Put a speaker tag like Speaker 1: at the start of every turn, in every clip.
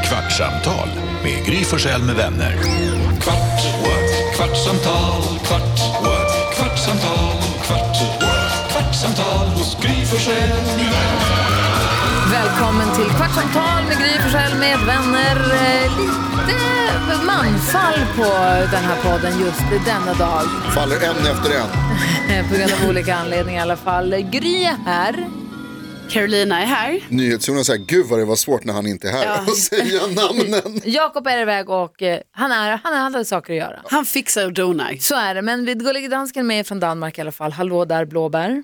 Speaker 1: kvartsamtal med Gry Forssell med vänner. Kvart, what? kvartsamtal, kvart, what? kvartsamtal, kvart, what? kvartsamtal hos Gry Forssell med vänner.
Speaker 2: Välkommen till Kvartsamtal med Gry Forssell med vänner. Eh, Lite manfall på den här podden just denna dag.
Speaker 3: Faller en efter en.
Speaker 2: Eh, På grund av olika anledningar i alla fall. Gry är här.
Speaker 4: Carolina är här.
Speaker 3: NyhetsJonas säger, gud vad det var svårt när han inte är här
Speaker 4: Ja.
Speaker 3: att säga namnen.
Speaker 2: Jakob är iväg och eh, han, är, han, är, han hade saker att göra.
Speaker 4: Han fixar och donar.
Speaker 2: Så är det, men vi gullige dansken med från Danmark i alla fall. Hallå där blåbär.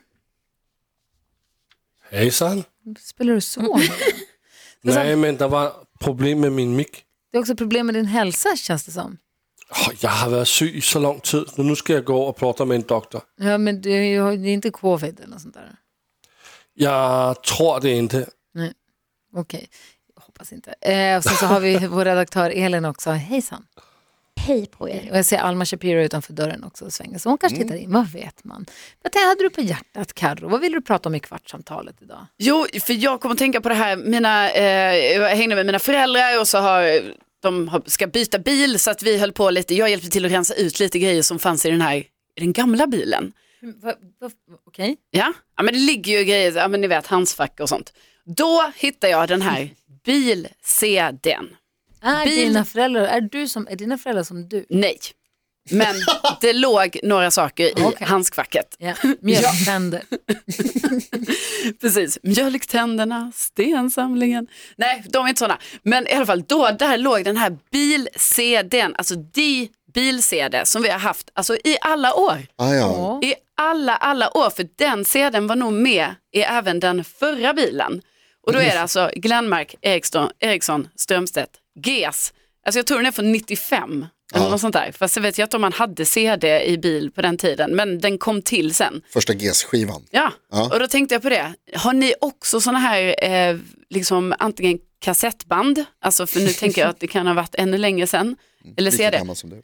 Speaker 5: Hejsan.
Speaker 2: Spelar du så?
Speaker 5: Nej, men det var problem med min mick.
Speaker 2: Det är också problem med din hälsa känns det som.
Speaker 5: Åh, Jag har varit sjuk i så lång tid, men nu ska jag gå och prata med en doktor.
Speaker 2: Ja, men det är ju det är inte covid eller något sånt där.
Speaker 5: Jag tror det inte.
Speaker 2: Okej, jag hoppas inte. Eh, och sen så har vi vår redaktör Elin också. Hejsan.
Speaker 6: Hej på er.
Speaker 2: Och jag ser Alma Shapiro utanför dörren också och svänger, så hon kanske tittar in. Vad vet man? Vad tänkte- hade du på hjärtat, Karro? Vad ville du prata om i kvartsamtalet idag?
Speaker 4: Jo, för jag kommer att tänka på det här, mina, eh, jag hängde med mina föräldrar och så har de har, ska byta bil så att vi höll på lite, jag hjälpte till att rensa ut lite grejer som fanns i den här, i den gamla bilen.
Speaker 2: Okej.
Speaker 4: Ja, ja men det ligger ju grejer, ja men ni vet handskfack och sånt. Då hittar jag den här bil-CDn.
Speaker 2: Är
Speaker 4: Bil-
Speaker 2: dina föräldrar, är, du som, är dina föräldrar som du?
Speaker 4: Nej, men det låg några saker i
Speaker 2: Okej.
Speaker 4: handskfacket.
Speaker 2: Ja, mjölktänder.
Speaker 4: Precis, mjölktänderna, stensamlingen. Nej, de är inte sådana. Men i alla fall, då, där låg den här bil-CDn, alltså de bil-CD som vi har haft alltså, i alla år.
Speaker 3: Ah, ja.
Speaker 2: Ja.
Speaker 4: I alla, alla år, för den CDn var nog med i även den förra bilen. Och då är det alltså Glenmark, Eriksson, Eriksson Strömstedt, GES. Alltså jag tror den är från 95, eller
Speaker 3: Ja.
Speaker 4: något sånt där. Fast jag vet ju inte om man hade CD i bil på den tiden, men den kom till sen.
Speaker 3: Första GES-skivan.
Speaker 4: Ja,
Speaker 3: Ja.
Speaker 4: och då tänkte jag på det. Har ni också sådana här, eh, liksom antingen kassettband, alltså för nu tänker jag att det kan ha varit ännu längre sedan, eller
Speaker 3: Lika
Speaker 4: CD.
Speaker 3: gammal som du.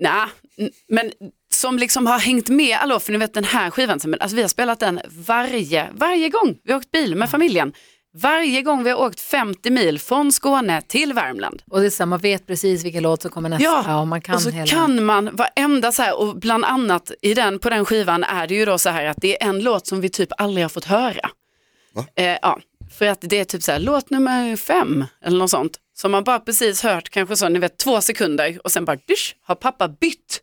Speaker 4: Nej, men som liksom har hängt med alla år, för ni vet den här skivan, som- alltså vi har spelat den varje, varje gång vi har åkt bil med familjen. Varje gång vi har åkt 50 mil från Skåne till Värmland.
Speaker 2: Och det är så, här, man vet precis vilken låt som kommer nästa.
Speaker 4: Ja,
Speaker 2: och man kan
Speaker 4: och så
Speaker 2: hela.
Speaker 4: kan man varenda så här, och bland annat i den, på den skivan är det ju då så här att det är en låt som vi typ aldrig har fått höra.
Speaker 3: Va?
Speaker 4: Eh, ja, för att det är typ så här, låt nummer fem eller något sånt. Som man bara precis hört, kanske så, ni vet två sekunder och sen bara dysch, har pappa bytt.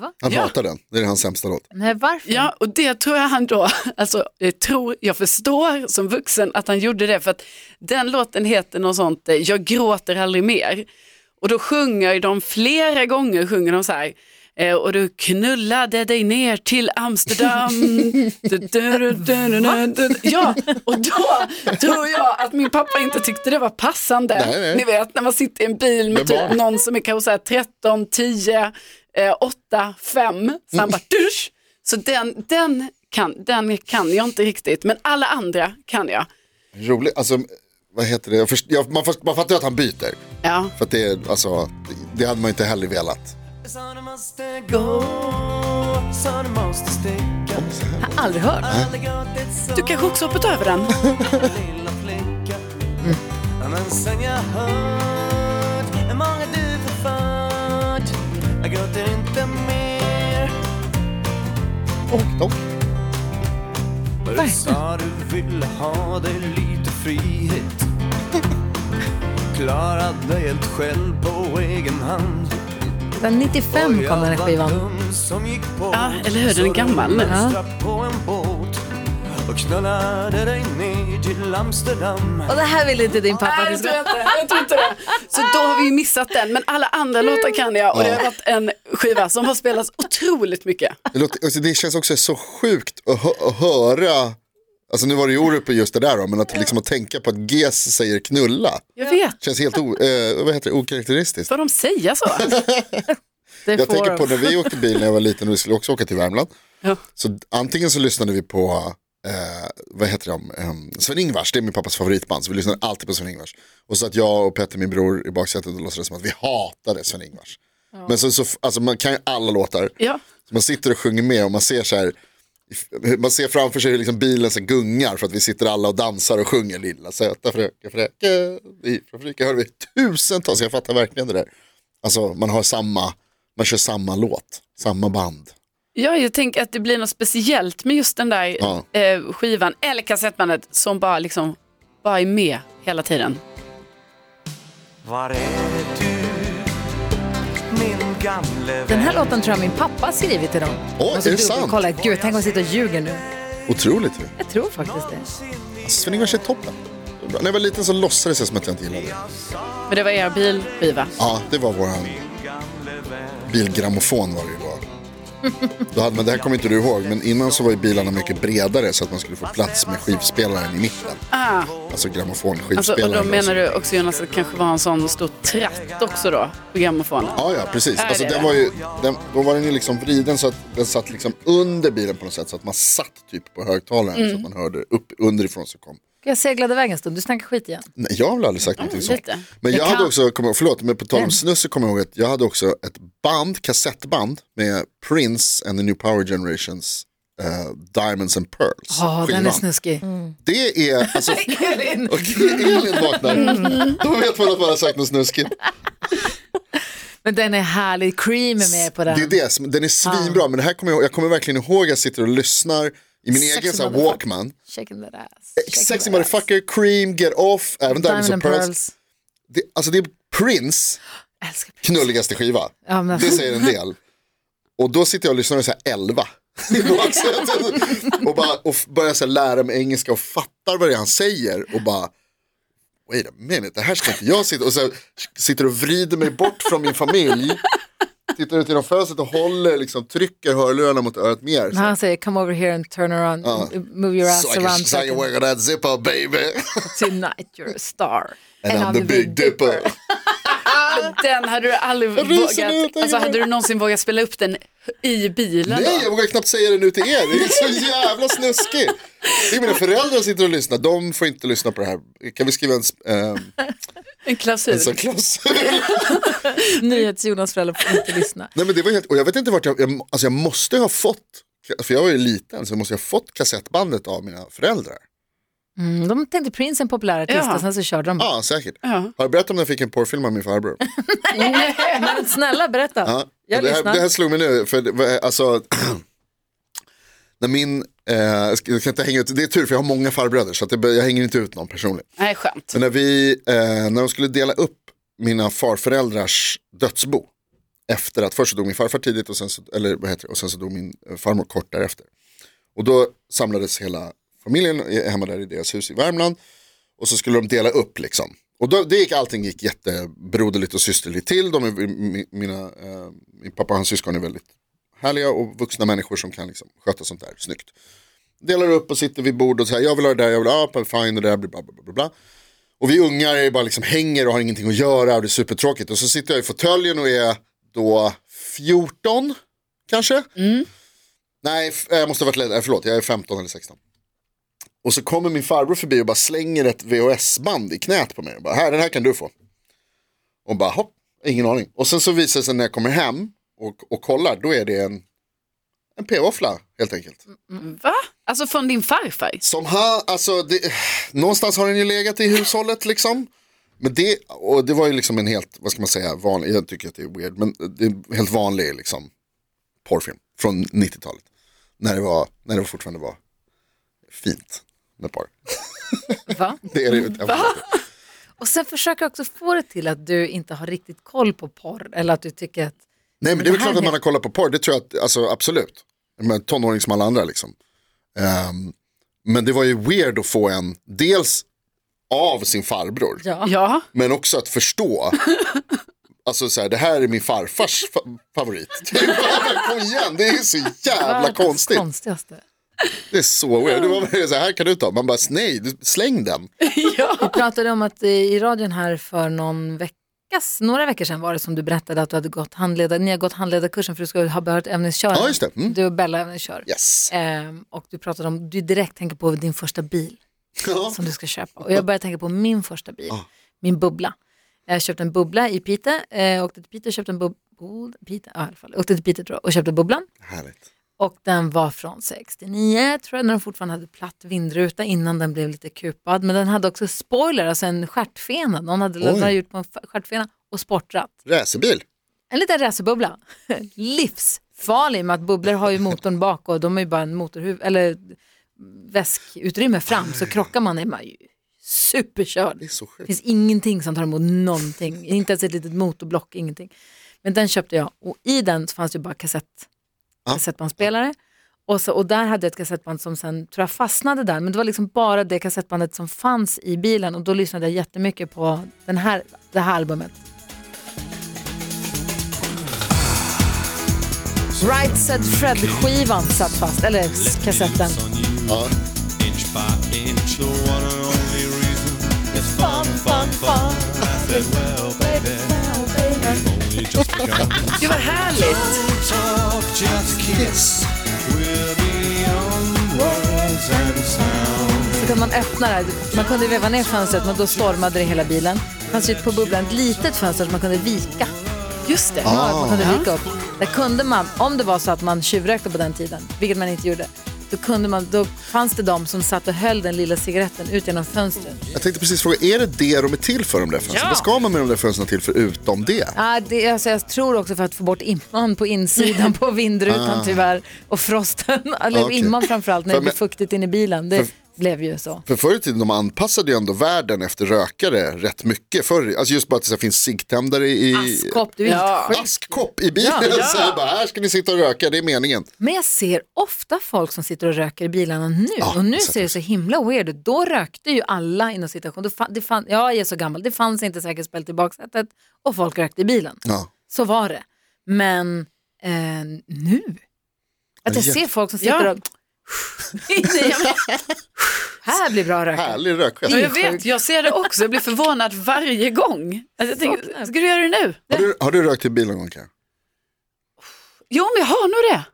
Speaker 2: Va?
Speaker 3: Han
Speaker 4: Ja.
Speaker 3: hatar den. Det är hans sämsta låt.
Speaker 2: Nej, varför?
Speaker 3: Mm.
Speaker 4: Ja, och det tror jag han då, alltså jag tror, jag förstår som vuxen att han gjorde det för att den låten heter något sånt, eh, jag gråter aldrig mer. Och då sjunger de flera gånger, sjunger de så här, eh, och du knullade dig ner till Amsterdam. Du, du, du, du, du, du, du. Ja, och då tror jag att min pappa inte tyckte det var passande.
Speaker 3: Nej, nej.
Speaker 4: Ni vet när man sitter i en bil med
Speaker 3: Med
Speaker 4: typ
Speaker 3: barn.
Speaker 4: någon som är kanske så här 13, 10, eh, 8, 5. Så han bara dusch. Så den, den, kan, den kan jag inte riktigt, men alla andra kan jag.
Speaker 3: Roligt, alltså vad heter det? Jag först, jag, man, först, man fattar ju att han byter.
Speaker 4: Ja.
Speaker 3: För att det, är, alltså, det hade man ju inte heller velat.
Speaker 7: Så det måste gå, så det måste sticka
Speaker 2: Har aldrig hört.
Speaker 7: Aldrig gråtit så,
Speaker 4: Du kanske också hoppat över den?
Speaker 7: lilla flicka Men sen jag hört hur många du förfört Jag gråter inte mer
Speaker 3: Och dock,
Speaker 7: Men Du sa du ville ha dig lite frihet Klarade dig helt själv på egen hand
Speaker 2: Den 95 kom den här skivan.
Speaker 4: Ja, eller hur? Den är gammal nu.
Speaker 2: Och det här vill inte din pappa att du
Speaker 4: jag
Speaker 2: ska...
Speaker 4: tror inte, jag tror inte det. Så då har vi ju missat den, men alla andra låtar kan jag och det har varit en skiva som har spelats otroligt mycket.
Speaker 3: det, låter, alltså, det känns också så sjukt att, hö, att höra, alltså nu var det ju Orup på just det där då, men att, liksom, att tänka på att GES säger knulla.
Speaker 4: Jag vet,
Speaker 3: Känns helt o, eh, vad heter det, okaraktäristiskt.
Speaker 4: får de säga så?
Speaker 2: Det
Speaker 3: Jag
Speaker 2: får
Speaker 3: tänker
Speaker 2: de.
Speaker 3: på när vi åkte bil när jag var liten och vi skulle också åka till Värmland.
Speaker 4: Ja.
Speaker 3: Så antingen så lyssnade vi på, eh, vad heter de, Ehm, Sven-Ingvars, det är min pappas favoritband, så vi lyssnade alltid på Sven-Ingvars. Och så att jag och Petter, min bror, i baksätet och låtsades som att vi hatade Sven-Ingvars. Men så, så, alltså man kan ju alla låtar,
Speaker 4: Ja.
Speaker 3: så man sitter och sjunger med och man ser så här, man ser framför sig hur liksom bilen så gungar för att vi sitter alla och dansar och sjunger lilla söta fröken Fräcke. Vi från Fräcke hör vi tusentals, jag fattar verkligen det där. Alltså man har samma, man kör samma låt, samma band.
Speaker 4: Ja, jag tänker att det blir något speciellt med just den där
Speaker 3: Ja.
Speaker 4: eh, skivan eller kassettbandet som bara liksom bara är med hela tiden.
Speaker 7: Var är du, min gamle
Speaker 2: Den här
Speaker 7: vän?
Speaker 2: låten tror jag min pappa har skrivit till dem. Alltså,
Speaker 3: Åh,
Speaker 2: Måste
Speaker 3: är det sant?
Speaker 2: dubbelkolla. Gud, tänk om jag sitter och ljuger nu.
Speaker 3: Otroligt ju.
Speaker 2: Jag tror faktiskt det.
Speaker 3: Alltså Sven-Ingvars är toppen. Det är bra. När jag var liten så låtsades jag som att jag inte gillade det.
Speaker 4: Men det var er bilskiva.
Speaker 3: Ja, det var våran bilgrammofon var det ju då. då hade man, det här kommer inte du ihåg, men innan så var ju bilarna mycket bredare så att man skulle få plats med skivspelaren i mitten.
Speaker 4: Ah,
Speaker 3: Alltså
Speaker 4: alltså, och
Speaker 3: grammofonskivspelaren.
Speaker 4: då menar du också Jonas att det kanske var en sån stor tratt också då på grammofonen?
Speaker 3: Ja, ja, precis.
Speaker 4: Är
Speaker 3: Alltså,
Speaker 4: det
Speaker 3: den
Speaker 4: det?
Speaker 3: var ju, den, då var den ju liksom vriden så att den satt liksom under bilen på något sätt. Så att man satt typ på högtalaren
Speaker 4: Mm.
Speaker 3: så att man hörde upp underifrån så kom.
Speaker 2: Jag seglade iväg en stund. Du snackar skit igen.
Speaker 3: Nej, jag har väl aldrig sagt någonting sånt.
Speaker 4: lite.
Speaker 3: Men
Speaker 4: Det
Speaker 3: jag hade
Speaker 4: kan-
Speaker 3: också, kom, förlåt, men på tal om snus så kommer jag ihåg att jag hade också ett band, kassettband med Prince and the New Power Generations eh, Diamonds and Pearls.
Speaker 2: Ja, den är
Speaker 3: skivan.
Speaker 2: snuskig.
Speaker 3: Mm. Det är, alltså,
Speaker 2: Elin!
Speaker 3: okej, Elin vaknar.
Speaker 2: Mm.
Speaker 3: Då vet man att man har sagt något snuskigt.
Speaker 2: Men den är härlig. Cream är med på den.
Speaker 3: Det är det, som- den är svinbra, men det här kommer jag, jag kommer verkligen ihåg, jag sitter och lyssnar i min
Speaker 2: Sexy
Speaker 3: egen så här,
Speaker 2: motherfucker.
Speaker 3: Walkman. Eh,
Speaker 2: Shaking that ass. Shaking
Speaker 3: Sexy
Speaker 2: that
Speaker 3: motherfucker, cream, get off, även
Speaker 2: ass.
Speaker 3: Diamonds
Speaker 2: Diamond
Speaker 3: and
Speaker 2: and
Speaker 3: Pearls.
Speaker 2: Pearls.
Speaker 3: Det, alltså det är Prince
Speaker 2: Jag älskar Prince.
Speaker 3: knulligaste skiva.
Speaker 2: Ja, men-
Speaker 3: Det säger en del. Och då sitter jag och lyssnar och säger 11. i baksätet. och, bara, och f- börjar så här lära mig engelska och fattar vad det är han säger och bara Wait a minute, det här ska inte jag sitta och så här sitter och vrider mig bort från min familj. Tittar ut genom fönstret och håller, liksom, trycker hörlurarna mot örat mer.
Speaker 2: När han säger come over here and turn around, move your ass
Speaker 3: So I can
Speaker 2: around
Speaker 3: show you where that zipper baby.
Speaker 2: tonight you're a star.
Speaker 3: And I'm the big dipper.
Speaker 4: Ah, Den hade du aldrig
Speaker 3: ryser nu,
Speaker 4: vågat,
Speaker 3: tänker
Speaker 4: alltså
Speaker 3: jag.
Speaker 4: hade du någonsin vågat spela upp den i bilen?
Speaker 3: Nej,
Speaker 4: då?
Speaker 3: jag vågar knappt säga det nu till er. Det är så jävla snuskigt. Det är mina föräldrar som sitter och lyssnar. De får inte lyssna på det här. Kan vi skriva en, s- ehm,
Speaker 4: En
Speaker 3: en sån
Speaker 4: klausul.
Speaker 3: klausul?
Speaker 2: NyhetsJonas föräldrar får inte lyssna.
Speaker 3: Nej, men det var helt, och jag vet inte vart jag, jag, alltså jag måste ha fått, för jag var ju liten, så jag måste ha fått kassettbandet av mina föräldrar.
Speaker 2: Mm, de tänkte Prince är en populär artist
Speaker 4: Ja.
Speaker 2: och sen så körde de. bara.
Speaker 3: Ja, säkert.
Speaker 4: Ja.
Speaker 3: Har jag berättat om när jag fick en porrfilm av min farbror?
Speaker 2: Men snälla berätta.
Speaker 3: Ja,
Speaker 2: Jag
Speaker 3: det, här,
Speaker 2: lyssnar.
Speaker 3: det här slog mig nu, för det, var- alltså, när min, eh, jag ska- jag kan inte hänga ut, det är tur för jag har många farbröder så att det, jag hänger inte ut någon personligen.
Speaker 4: Nej, skönt.
Speaker 3: Så när, vi, eh, när de skulle dela upp mina farföräldrars dödsbo. Efter att först så dog min farfar tidigt och sen så, eller vad heter det, och sen så dog min eh, farmor kort därefter. Och då samlades hela familjen eh, hemma där i deras hus i Värmland. Och så skulle de dela upp liksom. Och då, det gick, allting gick jättebroderligt och systerligt till. De är, mi- mina, eh, min pappa och hans syskon är väldigt härliga och vuxna människor som kan liksom, sköta sånt där snyggt. Delar upp och sitter vid bord och säger jag vill ha det där, jag vill ha det, fine, det där blir bla bla bla. bla, bla. Och vi ungar är bara liksom hänger och har ingenting att göra och det är supertråkigt. Och så sitter jag i fåtöljen och är då 14 kanske. Nej, f- eh, jag måste ha varit lite, förlåt, jag är 15 eller 16. Och så kommer min farbror förbi och bara slänger ett VHS-band i knät på mig. Och bara, här, den här kan du få. Och bara, hopp, ingen aning. Och sen så visar det sig när jag kommer hem och, och kollar, då är det en, en p-våffla helt enkelt.
Speaker 4: Va? Alltså från din farfar?
Speaker 3: Som han, alltså, det, någonstans har den ju legat i hushållet liksom. Men det, och det var ju liksom en helt, vad ska man säga, vanlig, jag tycker att det är weird, men det är en helt vanlig liksom porrfilm från 90-talet. När det, var, när det fortfarande var fint med porr.
Speaker 2: Va?
Speaker 3: Det är det ju inte.
Speaker 2: Och sen försöker jag också få det till att du inte har riktigt koll på porr eller att du tycker att
Speaker 3: Nej men det är väl
Speaker 2: här
Speaker 3: klart att man
Speaker 2: är-
Speaker 3: har kollat på porr, det tror jag att, alltså absolut. Men tonåring som alla andra liksom. Ehm, men det var ju weird att få en, dels av sin farbror.
Speaker 2: ja,
Speaker 4: Ja.
Speaker 3: Men också att förstå. Alltså så här, det här är min farfars fa- favorit. Kom igen, det är så jävla
Speaker 2: världens
Speaker 3: konstigt.
Speaker 2: konstigaste.
Speaker 3: Det är så weird. Det var verkligen så här, här kan du ta. Man bara, nej, du- släng den.
Speaker 2: Vi pratade om att eh, i radion här för någon veckas, några veckor sedan var det som du berättade att du hade gått handleda, ni har gått handledarkursen för du ska ha behörighet ämneskör.
Speaker 3: Ja, just det. Mm.
Speaker 2: Du och Bella ämneskör.
Speaker 3: Yes.
Speaker 2: Ehm, och du pratade om, du direkt tänker på din första bil
Speaker 3: Ja.
Speaker 2: som du ska köpa. Och jag började tänka på min första bil, min bubbla. Jag köpte en bubbla i Piteå, eh, åkte till Piteå och köpte en bubbla, Piteå, ja, i alla fall. åkte till Piteå tror jag, och köpte bubblan.
Speaker 3: Härligt.
Speaker 2: Och den var från 69, tror jag, när de fortfarande hade platt vindruta innan den blev lite kupad. Men den hade också spoiler, alltså en stjärtfena. Någon hade
Speaker 3: Oj.
Speaker 2: lagt- gjort på en f- stjärtfena och sportrat.
Speaker 3: Racerbil.
Speaker 2: En liten racerbubbla. Livsfarlig med att bubblor har ju motorn bak och de är ju bara en motorhuv eller väskutrymme fram så krockar man är man ju superkörd.
Speaker 3: Det är så sjukt.
Speaker 2: Det finns ingenting som tar emot någonting, inte ens ett litet motorblock, ingenting. Men den köpte jag och i den så fanns ju bara kassett,
Speaker 3: Ja.
Speaker 2: kassettbandspelare. Och, så, och där hade jag ett kassettband som sen tror jag fastnade där, men det var liksom bara det kassettbandet som fanns i bilen och då lyssnade jag jättemycket på den här, det här albumet. Right Said Fred-skivan satt fast, eller kassetten.
Speaker 3: Ja.
Speaker 4: Det var härligt.
Speaker 2: Så kunde man öppna det här. Man kunde veva ner fönstret men då stormade det hela bilen. Det fanns ju på bubblan ett litet fönster som man kunde vika.
Speaker 4: Just det.
Speaker 3: Ah.
Speaker 2: Ja, Man kunde vika upp. Där kunde man, om det var så att man tjuvrökte på den tiden, vilket man inte gjorde, då, kunde man, då fanns det de som satt och höll den lilla cigaretten ut genom fönstret.
Speaker 3: Jag tänkte precis fråga, är det det de är till för de där fönstren? Vad ska man med de där fönstren till förutom det?
Speaker 2: Ah, det, alltså, jag tror också för att få bort imman på insidan på vindrutan tyvärr och frosten, eller
Speaker 3: Ah. Okej.
Speaker 2: imman framförallt när det
Speaker 3: För-
Speaker 2: blir fuktigt in i bilen. Det blev ju så.
Speaker 3: För förr i tiden, de anpassade ju ändå världen efter rökare rätt mycket. Förr, alltså just bara att det finns ziggtändare i...
Speaker 2: Askkopp, du är helt
Speaker 4: Ja.
Speaker 3: Askkopp i bilen. Så jag bara, här ska ni sitta och röka, det är meningen.
Speaker 2: Men jag ser ofta folk som sitter och röker i bilarna nu och nu
Speaker 3: jag ser
Speaker 2: ser det så himla weird ut. Då rökte ju alla inom situation. Då fan, det fan, ja, jag är så gammal, det fanns inte säkerhetsbälte i baksätet och folk rökte i bilen.
Speaker 3: Ja.
Speaker 2: Så var det. Men eh, nu, att jag
Speaker 3: Ja,
Speaker 2: ser folk som sitter
Speaker 4: Ja.
Speaker 2: och... Nej, jag men- här blir bra rök.
Speaker 3: Härlig rökchef.
Speaker 4: Ja, jag
Speaker 2: sjukt.
Speaker 4: vet, jag ser det också. Jag blir förvånad varje gång. Alltså, jag tänker, ska du göra det nu?
Speaker 3: Har du, har du rökt i bil någon gång? Kaja?
Speaker 4: Jo, men jag har nog det.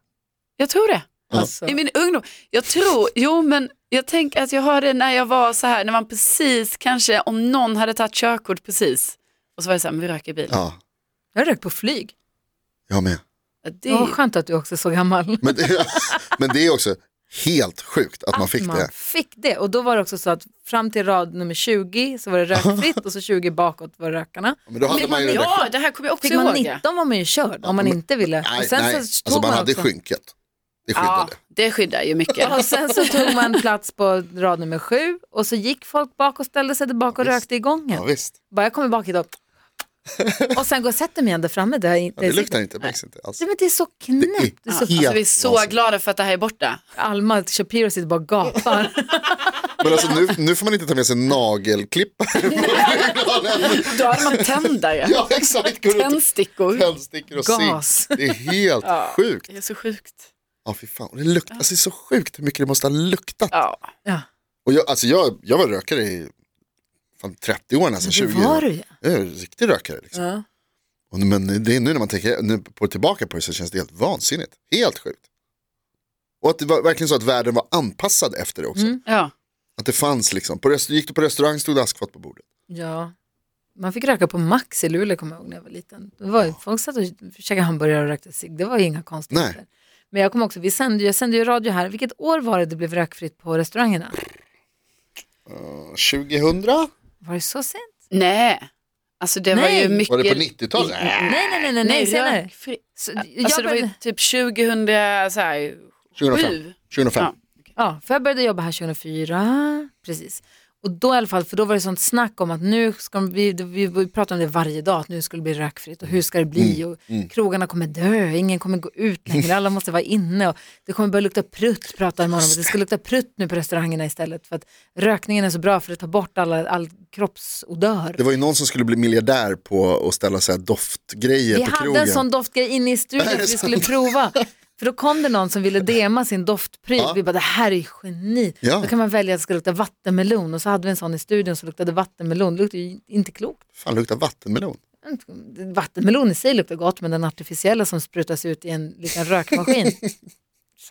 Speaker 4: Jag tror det.
Speaker 2: Alltså.
Speaker 4: I min ungdom. Jag tror, jo men jag tänker att jag har det när jag var så här, när man precis kanske, om någon hade tagit körkort precis. Och så var det så här, men vi röker i bil.
Speaker 3: Ja,
Speaker 2: Jag rök på flyg.
Speaker 3: jag med.
Speaker 4: Det,
Speaker 2: Det var skönt att du också är så gammal.
Speaker 3: Men det, men det är också helt sjukt att man fick
Speaker 2: man
Speaker 3: det.
Speaker 2: fick det. Och då var det också så att fram till rad nummer 20 så var det rökfritt och så 20 bakåt var rökarna.
Speaker 3: Men då hade man ju det.
Speaker 4: ja, det här kommer jag också
Speaker 2: Fick man
Speaker 4: ihåg.
Speaker 2: 19 var man ju körd om man
Speaker 3: men-
Speaker 2: inte ville.
Speaker 3: Nej,
Speaker 2: och sen
Speaker 3: nej.
Speaker 2: så tog
Speaker 3: Alltså man
Speaker 2: man
Speaker 3: hade
Speaker 2: också-
Speaker 3: skynket. Det
Speaker 4: ja,
Speaker 3: skyddade.
Speaker 4: det skyddar ju mycket. Alltså,
Speaker 2: Och sen så tog man plats på rad nummer sju och så gick folk bak och ställde sig där bak och
Speaker 3: Ja, visst.
Speaker 2: rökte i gången.
Speaker 3: Ja, visst.
Speaker 2: Bara jag kommer bak idag. Och sen går och sätter mig igen där framme. Där jag
Speaker 3: Ja,
Speaker 2: inte
Speaker 3: det luktar inte, märks inte alls.
Speaker 2: Nej, men det är så knäppt. Det är så...
Speaker 4: Alltså, vi är så
Speaker 3: vansinnigt.
Speaker 4: glada för att det här är borta.
Speaker 2: Alma Shapiro sitter bara och gapar.
Speaker 3: Men alltså nu, nu får man inte ta med sig nagelklippare på flygplanen.
Speaker 4: Då hade man tändare,
Speaker 3: Ja, exakt. Går runt
Speaker 4: tändstickor.
Speaker 3: och tändstickor och
Speaker 2: Gas.
Speaker 3: zink. Det är helt sjukt.
Speaker 4: Det är så sjukt.
Speaker 3: Ja, fy fan. Och Det, luktar, alltså, det är så sjukt hur mycket det måste ha luktat.
Speaker 4: Ja.
Speaker 2: Ja.
Speaker 3: Och jag, alltså, jag, jag var rökare i fan, 30 år nästan, 20
Speaker 2: Det var
Speaker 3: år.
Speaker 2: du ju.
Speaker 3: Jag är en riktig rökare. Liksom.
Speaker 2: Ja.
Speaker 3: Och, nu- men det är nu när man tänker nu på, tillbaka på det så känns det helt vansinnigt. Helt sjukt. Och att det var verkligen så att världen var anpassad efter det också.
Speaker 2: Mm.
Speaker 4: Ja.
Speaker 3: Att det fanns liksom, på rest, gick du på restaurang stod det askfat på bordet.
Speaker 2: Ja. Man fick röka på Max i Luleå kommer jag ihåg när jag var liten. Det var, ju- Folk satt och käkade hamburgare och rökte cigg. Det var ju inga konstigheter.
Speaker 3: Nej.
Speaker 2: Men jag kommer också, vi sände, ju- jag sände ju radio här. Vilket år var det det blev rökfritt på restaurangerna?
Speaker 3: 2000?
Speaker 2: Var det så sent?
Speaker 4: Nej, alltså det var
Speaker 2: Nej.
Speaker 4: ju mycket.
Speaker 3: Var det på 90-talet? Nej,
Speaker 4: Äh,
Speaker 2: Nej, nej, nej, nej, nej senare.
Speaker 4: rökfri-
Speaker 2: Så,
Speaker 4: Alltså
Speaker 2: jag
Speaker 4: det var ju
Speaker 2: började,
Speaker 4: typ 2000, så här,
Speaker 3: 2005.
Speaker 4: sju.
Speaker 3: 2005.
Speaker 4: Ja.
Speaker 2: ja, för jag började jobba här 2004, precis. Och då i alla fall, för då var det sånt snack om att nu ska de, vi, vi, vi pratade om det varje dag, att nu ska det bli rökfritt och hur ska det bli och krogarna kommer dö, ingen kommer gå ut längre, alla måste vara inne och det kommer börja lukta prutt, pratar man om, att det ska lukta prutt nu på restaurangerna istället för att rökningen är så bra för att ta bort alla, all kroppsodör.
Speaker 3: Det var ju någon som skulle bli miljardär på att ställa så här doftgrejer
Speaker 2: Vi
Speaker 3: på
Speaker 2: hade
Speaker 3: krogen.
Speaker 2: en sån doftgrej inne i studion
Speaker 3: Är
Speaker 2: för
Speaker 3: det
Speaker 2: vi
Speaker 3: sant?
Speaker 2: skulle prova. För då kom det någon som ville dema sin doftpryl.
Speaker 3: Ja.
Speaker 2: Vi bara, det här är ju geni.
Speaker 3: Ja.
Speaker 2: Då kan man välja att det ska lukta vattenmelon. Och så hade vi en sån i studion som luktade vattenmelon. Det luktade ju inte klokt.
Speaker 3: Fan, luktar vattenmelon.
Speaker 2: Vattenmelon i sig luktar gott, men den artificiella som sprutas ut i en liten rökmaskin.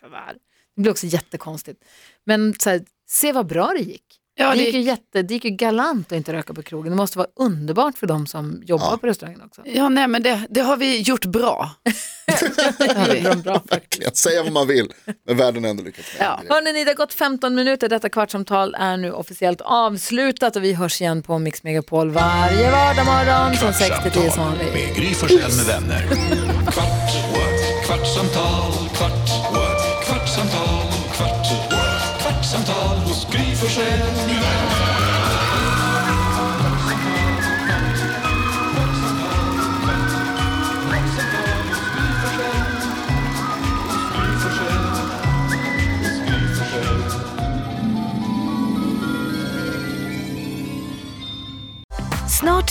Speaker 2: Sådär. Det blir också jättekonstigt. Men så här, se vad bra det gick.
Speaker 4: Ja,
Speaker 2: det, gick ju
Speaker 4: det,
Speaker 2: jätte, det gick ju galant att inte röka på krogen. Det måste vara underbart för de som jobbar
Speaker 3: Ja.
Speaker 2: på restaurangen också.
Speaker 4: ja nej, men det, det har vi gjort bra. det har vi.
Speaker 2: Bra.
Speaker 3: Verkligen, säga vad man vill, men världen har ändå lyckats med
Speaker 4: Ja.
Speaker 3: det.
Speaker 2: Hörrni, ni, det har gått 15 minuter. Detta kvartsamtal är nu officiellt avslutat och vi hörs igen på Mix Megapol varje vardag morgon från 6 till 10 som vanligt.
Speaker 1: med Gry Forssell med vänner. Kvart, what? kvartsamtal, kvart, what? kvartsamtal, kvart, what? kvartsamtal hos Gry Forssell med vänner.
Speaker 6: Snart